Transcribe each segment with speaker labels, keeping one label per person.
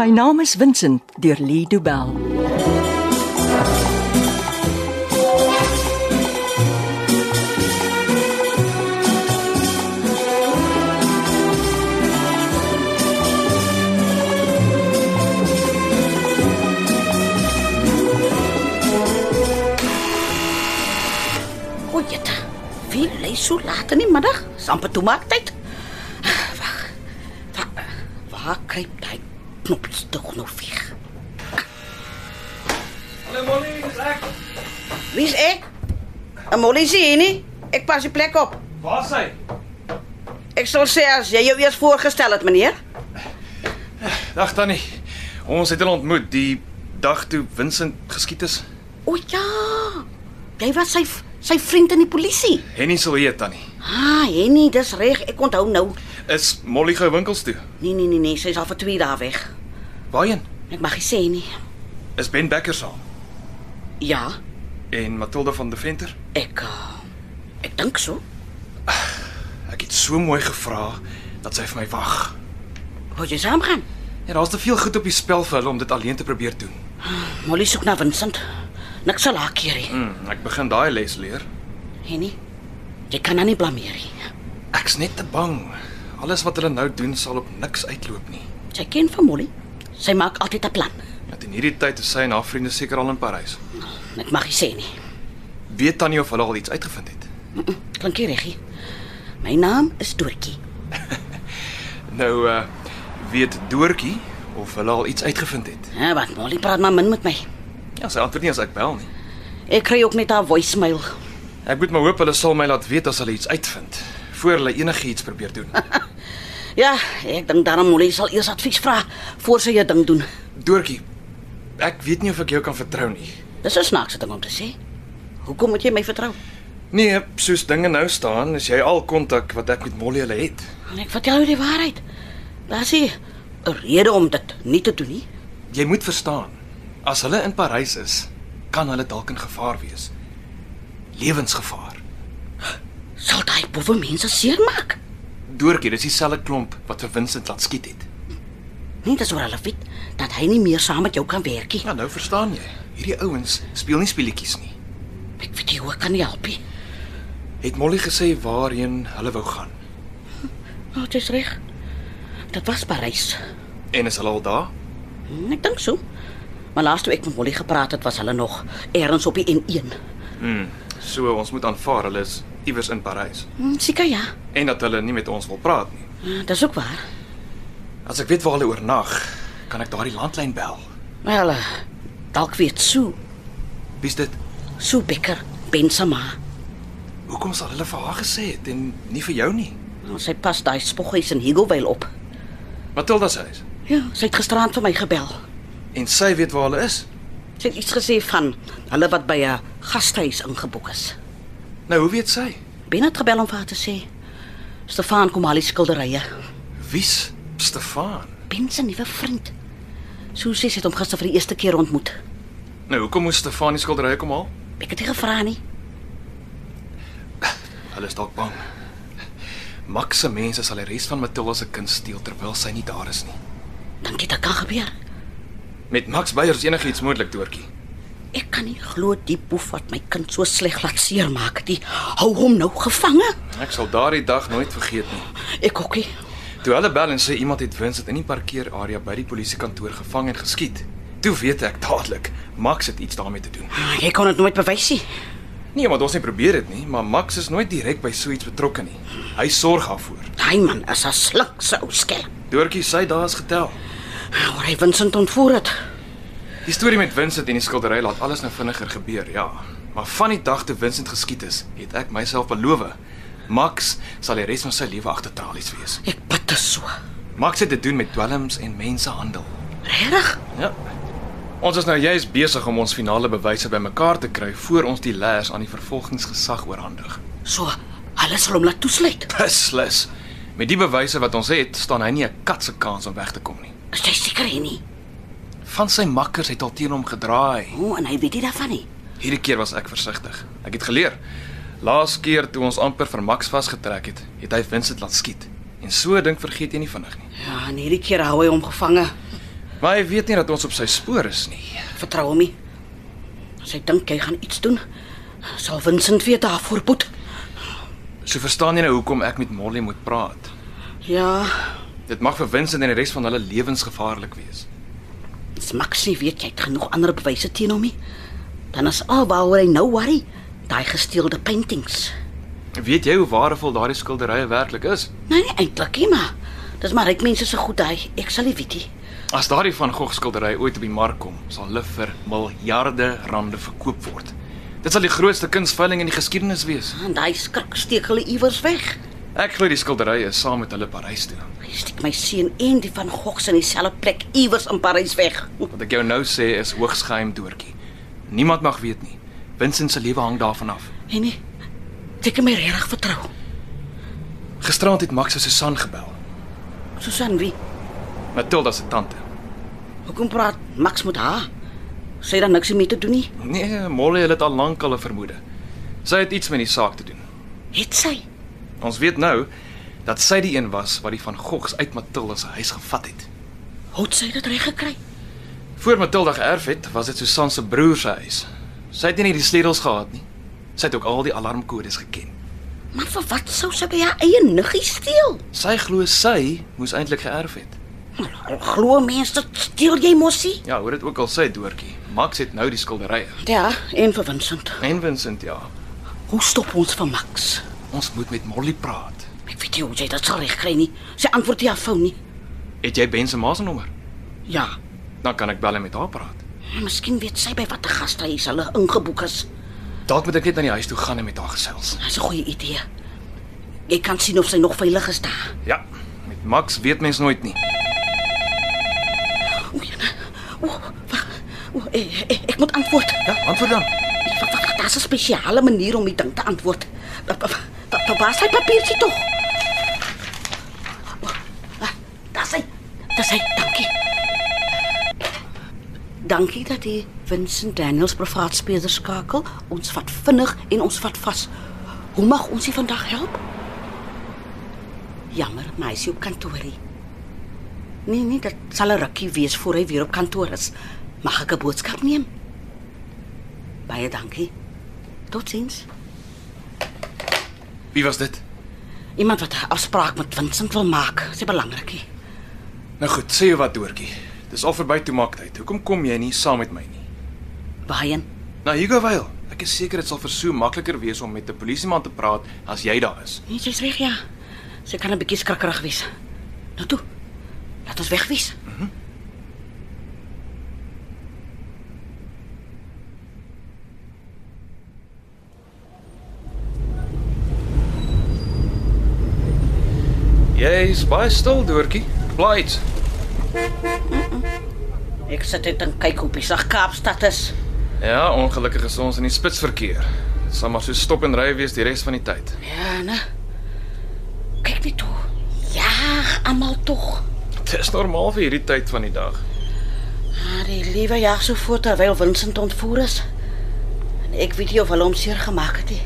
Speaker 1: My naam is Vincent deur Lee Du Bell.
Speaker 2: Goeieta. Wie lê so laat in die middag? Sampa toe maak tyd. Wag. Wa- Waar kruip daai nou knoppies tog nog weg?
Speaker 3: Hallo Molly, dis ek.
Speaker 2: Wie's ek? 'n Molly sien nie. Ek pas die plek op.
Speaker 3: Waar is hy?
Speaker 2: Ek sal sê as jy jou eers voorgestel het, meneer.
Speaker 3: Dag Tannie. Ons het hulle ontmoet die dag toe Vincent geskiet is.
Speaker 2: O ja. Jy was sy sy vriend in die polisie.
Speaker 3: Henny sal hier Tannie.
Speaker 2: Ah, Henny, dis reg. Ek onthou nou.
Speaker 3: Is Molly gou winkels toe?
Speaker 2: Nee, nee, nee, nee, sy is al vir 2 dae weg.
Speaker 3: Waarheen?
Speaker 2: Ek mag nie sê nie.
Speaker 3: Is Ben Becker saam
Speaker 2: Ja,
Speaker 3: en Matilda van Deventer?
Speaker 2: ek uh, ek dink so.
Speaker 3: Ek het so mooi gevra dat sy vir my wag.
Speaker 2: Wou jy saam gaan?
Speaker 3: Ja, daar's te veel goed op die spel vir hulle om dit alleen te probeer doen.
Speaker 2: Molly soek na Vincent. Niks sal haar keer nie.
Speaker 3: Hmm, ek begin daai les leer.
Speaker 2: Henny, jy kan haar nie blameer nie.
Speaker 3: Ek's net te bang. Alles wat hulle nou doen sal op niks uitloop nie.
Speaker 2: Sy ken van Molly. Sy maak altyd 'n plan.
Speaker 3: Want in hierdie tyd is sy en haar vriende seker al in Parys.
Speaker 2: Ek mag nie sê nie.
Speaker 3: Weet Tannie of hulle al iets uitgevind het?
Speaker 2: Mm -mm, Klink nie reg nie. My naam is Doortjie.
Speaker 3: Nou uh weet Doortjie of hulle al iets uitgevind het.
Speaker 2: Ja, wat Molly praat maar min met my.
Speaker 3: Ja, sy antwoord nie as ek bel nie.
Speaker 2: Ek kry ook net haar voicemail.
Speaker 3: Ek moet maar hoop hulle sal my laat weet as hulle iets uitvind voor hulle enigiets probeer doen.
Speaker 2: Ja, ek dink daarom Molly sal eers advies vra voor sy 'n ding doen.
Speaker 3: Doortjie, ek weet nie of ek jou kan vertrou nie.
Speaker 2: Dis 'n snaakse ding om te sê. Hoekom moet jy my vertrou?
Speaker 3: Nee, soos dinge nou staan, is jy al kontak wat ek met Molly hulle het.
Speaker 2: En ek vertel jou die waarheid. Daar's nie 'n rede om dit nie te doen nie.
Speaker 3: Jy moet verstaan, as hulle in Parys is, kan hulle dalk in gevaar wees. Lewensgevaar.
Speaker 2: Sal daai boewe mense seermaak.
Speaker 3: Doortjie, dis dieselfde klomp wat vir Vincent laat skiet het.
Speaker 2: Nie dis oor hulle weet dat hy nie meer saam met jou kan werk nie.
Speaker 3: Ja, nou verstaan jy. Hierdie ouens speel nie speletjies nie.
Speaker 2: Ek weet nie hoe ek kan nie help nie.
Speaker 3: Het Molly gesê waarheen hulle wou gaan?
Speaker 2: Nou, dit is reg. Dit was Parys.
Speaker 3: En is hulle al daar?
Speaker 2: Hm, Ek dink so. Maar laas toe ek met Molly gepraat het, was hulle nog ergens op die N1.
Speaker 3: So ons moet aanvaar hulle is iewers in Parys
Speaker 2: Hm, Seker ja.
Speaker 3: en dat hulle nie met ons wil praat nie.
Speaker 2: Hm, Dis ook waar.
Speaker 3: As ek weet waar hulle oornag, kan ek daardie landlyn bel.
Speaker 2: Wel, eh, dalk weet Sue,
Speaker 3: Wie's dit?
Speaker 2: Sue Becker, Bensama.
Speaker 3: Hoekom sal hulle vir haar gesê het en nie vir jou nie?
Speaker 2: Nou, Sy pas daai spoggies in Higgovale op.
Speaker 3: Matilda se huis.
Speaker 2: Ja, sy het gisteraand vir my gebel.
Speaker 3: En sy weet waar hulle is.
Speaker 2: Sy het iets gesê van hulle wat by 'n gastehuis ingeboek is.
Speaker 3: Nou hoe weet sy?
Speaker 2: Ben het gebel om vir haar te sê. Stefan kom al die skilderye.
Speaker 3: Wie's Stefan?
Speaker 2: Ben se nuwe vriend. Susie het hom gister vir die eerste keer ontmoet.
Speaker 3: Nou hoekom moes Stefan die skilderye kom haal?
Speaker 2: Ek het nie gevra nie.
Speaker 3: Hulle is dalk bang. Max se mense sal die res van Matilda se kuns steel terwyl sy nie daar is nie.
Speaker 2: Dink jy dit kan gebeur?
Speaker 3: Met Max Beyers enigiets moontlik, Doortjie.
Speaker 2: Ek kan nie glo die boef wat my kind so sleg laat seermaak. Die hou hom nou gevange.
Speaker 3: Ek sal daardie dag nooit vergeet nie.
Speaker 2: Ek hokkie.
Speaker 3: Toe hulle bel en sê iemand het Vincent in die parkeerarea by die polisiekantoor gevang en geskiet, toe weet ek dadelik Max het iets daarmee te doen.
Speaker 2: Jy kon dit nooit bewys nie.
Speaker 3: Nee, want ons het nie probeer dit nie, maar Max is nooit direk by so iets betrokke nie. Hy sorg daarvoor.
Speaker 2: Daai man is 'n slinkse ou skelm.
Speaker 3: Doortjie, sy dae is getel.
Speaker 2: Maar hy Vincent ontvoer het.
Speaker 3: Die storie met Vincent en die skildery laat alles nou vinniger gebeur, ja. Maar van die dag toe Vincent geskiet is, het ek myself beloof, Max sal die res van sy lewe agter tralies wees.
Speaker 2: Ek bid dit so.
Speaker 3: Max het te doen met dwelms en mensehandel.
Speaker 2: Regtig?
Speaker 3: Ja. Ons is nou juis besig om ons finale bewyse bymekaar te kry voor ons die leers aan die vervolgingsgesag oorhandig.
Speaker 2: So, alles sal hom laat toesluit.
Speaker 3: Beslis. Met die bewyse wat ons het, staan hy nie 'n kat se kans om weg te kom nie.
Speaker 2: Is jy seker hy nie?
Speaker 3: Van sy makkers het al teen hom gedraai.
Speaker 2: O, en hy weet nie daarvan nie.
Speaker 3: Hierdie keer was ek versigtig. Ek het geleer. Laas keer toe ons amper vir Max vasgetrek het, het hy Vincent laat skiet. En so dink vergeet jy nie vinnig nie.
Speaker 2: Ja, en hierdie keer hou hy hom gevange.
Speaker 3: Maar hy weet nie dat ons op sy spoor is nie.
Speaker 2: Vertrou hom nie. As hy dink hy gaan iets doen, sal Vincent weer daarvoor boet.
Speaker 3: So verstaan jy nou hoekom ek met Molly moet praat.
Speaker 2: Ja,
Speaker 3: Dit mag vir Vincent en die res van hulle lewensgevaarlik wees.
Speaker 2: dis maks nie weet jy het genoeg ander bewyse teen hom nie. Dan is al waaroor hy nou worry, daai gesteelde paintings.
Speaker 3: Weet jy hoe waardevol daardie skilderye werklik is?
Speaker 2: Nee, nee eintlik nie, maar dis maar ryk mense se goed daai. Ek sal nie weet nie.
Speaker 3: As daardie van Gogh skildery ooit op die mark kom, sal hulle vir miljarde rande verkoop word. Dit sal die grootste kunsveiling in die geskiedenis wees.
Speaker 2: En daai skrik steek hulle iewers weg.
Speaker 3: Ek glo die skildery is saam met hulle Parys toe.
Speaker 2: Hy steek my seun en die van Gogs in dieselfde plek iewers in Parys weg.
Speaker 3: Wat ek jou nou sê is hoogs geheim doortjie. Niemand mag weet nie. Vincent se lewe hang daarvan af.
Speaker 2: Nee nee. Jy kan my regtig vertrou.
Speaker 3: Gisteraand het Max se Susan gebel.
Speaker 2: Susan wie?
Speaker 3: Matilda se tante.
Speaker 2: Hoekom praat Max met haar? Sy het dan niks mee te doen nie.
Speaker 3: Nee, Molly het dit al lank al 'n vermoede. Sy het iets met die saak te doen.
Speaker 2: Het sy?
Speaker 3: Ons weet nou dat sy die een was wat die van Gogs uit Matilda se huis gevat het.
Speaker 2: Hoe het sy dit reg gekry?
Speaker 3: Voor Matilda geërf het, was dit Susan se broer se huis. Sy het nie net die sleutels gehad nie. Sy het ook al die alarmkodes geken.
Speaker 2: Maar vir wat sou sy by haar eie niggie steel?
Speaker 3: Sy glo sy moes eintlik geërf het.
Speaker 2: Maar Glo mense, steel jy mosie?
Speaker 3: Ja, hoor dit ook al sy doortjie. Max het nou die skilderye.
Speaker 2: Ja, en vir Vincent.
Speaker 3: En Vincent ja.
Speaker 2: Hoe stop ons vir Max?
Speaker 3: Ons moet met Molly praat.
Speaker 2: Ek weet nie hoe jy dit sal regkry nie. Sy antwoord nie haar foon nie.
Speaker 3: Het jy Ben se ma se nommer?
Speaker 2: Ja,
Speaker 3: Dan kan ek bel en met haar praat.
Speaker 2: maar miskien weet sy by watter gastehuis hulle ingeboek is.
Speaker 3: Dalk moet ek net na die huis toe gaan en met haar gesels.
Speaker 2: Dis 'n goeie idee. Jy kan sien of sy nog veilig is daar.
Speaker 3: Ja, met Max weet mens nooit nie.
Speaker 2: O, o, wag. O, ek, ek, ek moet antwoord.
Speaker 3: Ja, antwoord dan.
Speaker 2: Wag, wag, wag, daar's 'n spesiale manier om die ding te antwoord. Wa- wa- wa- wa- Waar is hy papiertjie tog? Ah, Daar's hy. Daar's hy. Dankie. Dankie dat jy Vincent Daniels privaat speler skakel. Ons vat vinnig en ons vat vas. Hoe mag ons u vandag help? Jammer, maar hy is nie op kantoorie. Nee, nee, dit sal 'n rukkie wees voor hy weer op kantoor is. Mag ek 'n boodskap neem? Baie dankie. Totsiens.
Speaker 3: Wie was dit?
Speaker 2: Iemand wat 'n afspraak met Vincent wil maak, is belangrik. nie.
Speaker 3: Nou goed, sê jou wat doortjie. Dis al verby toe maak tyd. Hoekom kom jy nie saam met my nie?
Speaker 2: Waarheen?
Speaker 3: Nou Hugo Weil, ek is seker dit sal vir Sue makliker wees om met 'n polisieman te praat as jy daar is.
Speaker 2: Nee, jy's reg ja. Sy kan 'n bietjie skrikkerig wees. Nou toe. Laat ons wegwees.
Speaker 3: Jy's baie stil, Doortjie. Blaids.
Speaker 2: Ek sit net en kyk hoe besig Kaapstad is.
Speaker 3: Ja, ongelukkig is ons in die spitsverkeer. Dit sal maar so stop en ry wees die res van die tyd.
Speaker 2: Ja, nee. Kyk net toe. Ja, almal tog.
Speaker 3: Dit is normaal vir hierdie tyd van die dag.
Speaker 2: Maar Ah, die liewe jaar so voor terwyl Vincent ontvoer is. En ek weet nie of hulle hom seer gemaak het nie.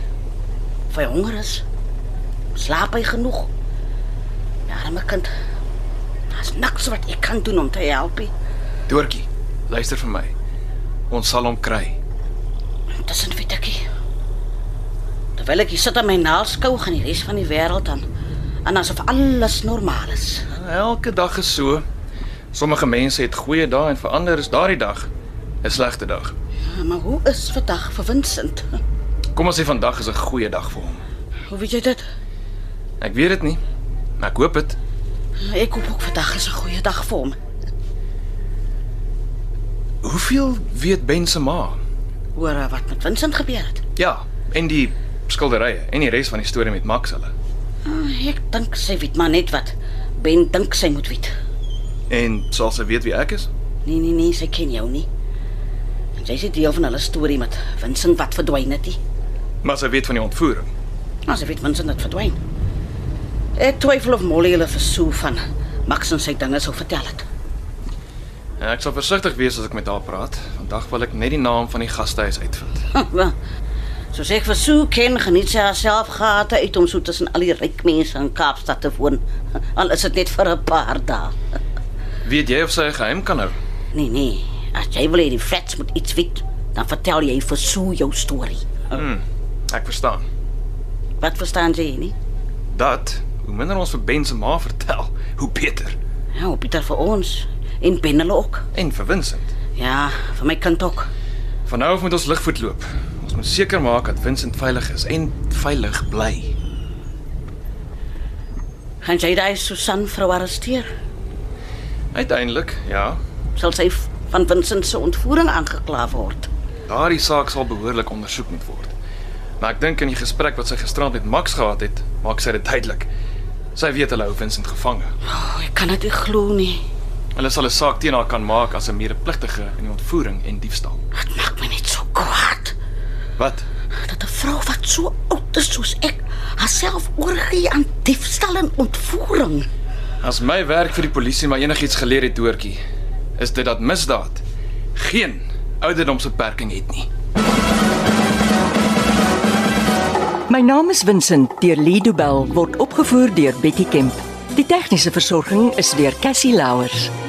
Speaker 2: Of hy honger is. Slaap hy genoeg? Ja, my kind. Daar's niks wat ek kan doen om te help nie.
Speaker 3: Doortjie, luister vir my. Ons sal hom kry.
Speaker 2: Intussen weet ek nie. Terwyl ek hier sit aan my naalskou gaan die res van die wêreld aan. En asof alles normaal is.
Speaker 3: Elke dag is so. Sommige mense het goeie dae en vir ander is daardie dag 'n slegte dag.
Speaker 2: Ah, Maar hoe is vandag vir Vincent?
Speaker 3: Kom ons sê vandag is 'n goeie dag vir hom.
Speaker 2: Hoe weet jy dit?
Speaker 3: Ek weet dit nie, maar ek hoop dit.
Speaker 2: Ek hoop ook vandag is 'n goeie dag vir hom.
Speaker 3: Hoeveel weet Ben se ma?
Speaker 2: Hoor eh, wat met Vincent gebeur het.
Speaker 3: Ja, en die skilderye en die res van die storie met Max hulle.
Speaker 2: Ah, Ek dink sy weet maar net wat Ben dink sy moet weet.
Speaker 3: En sal sy weet wie ek is?
Speaker 2: Nee nee nee, sy ken jou nie. En sy is deel van hulle storie met Vincent wat verdwyn het. nie.
Speaker 3: Maar sy weet van die ontvoering.
Speaker 2: Maar sy weet Vincent het verdwyn. Ek twyfel of Molly hulle versoek van Max en sy dinge sou vertel het.
Speaker 3: En Ja, ek sal versigtig wees as ek met haar praat. Vandag wil ek net die naam van die gastehuis uitvind.
Speaker 2: Wel, Soos ek versoek ken, geniet sy haarself gate uit om so tussen al die ryk mense in Kaapstad te woon. Al is dit net vir 'n paar dae.
Speaker 3: Weet jy of sy 'n geheim kan hou?
Speaker 2: Nee, nee. As jy wil hê die flats moet iets weet, dan vertel jy vir Sue jou storie.
Speaker 3: Ek verstaan.
Speaker 2: Wat verstaan jy nie?
Speaker 3: Dat hoe minder ons vir Ben se ma vertel, hoe beter.
Speaker 2: Ja, op Pieter vir ons en Ben hulle ook.
Speaker 3: En vir Vincent.
Speaker 2: Ja, vir my kind ook.
Speaker 3: Van nou af moet ons ligvoet loop. Ons moet seker maak dat Vincent veilig is en veilig bly.
Speaker 2: Gaan jy daai Susan vrou arresteer?
Speaker 3: Uiteindelik, ja.
Speaker 2: Sal sy v- van Vincent se ontvoering aangekla word?
Speaker 3: Daardie saak sal behoorlik ondersoek moet word. Maar ek dink in die gesprek wat sy gisterand met Max gehad het, maak sy dit duidelik. Sy weet hulle hou Vincent gevange.
Speaker 2: Oh, ek kan dit nie glo nie.
Speaker 3: Hulle sal 'n saak teen haar kan maak as 'n medepligtige in die ontvoering en diefstal.
Speaker 2: Dit maak my net so kwaad
Speaker 3: Wat?
Speaker 2: dat 'n vrou wat so oud is soos ek haarself oorgee aan diefstal en ontvoering.
Speaker 3: As my werk vir die polisie maar enigiets geleer het, Doortjie, is dit dat misdaad geen ouderdomsbeperking het nie.
Speaker 1: My naam is Vincent deur Lido Bell word opgevoer deur Betty Kemp. Die tegniese versorging is deur Cassie Louers.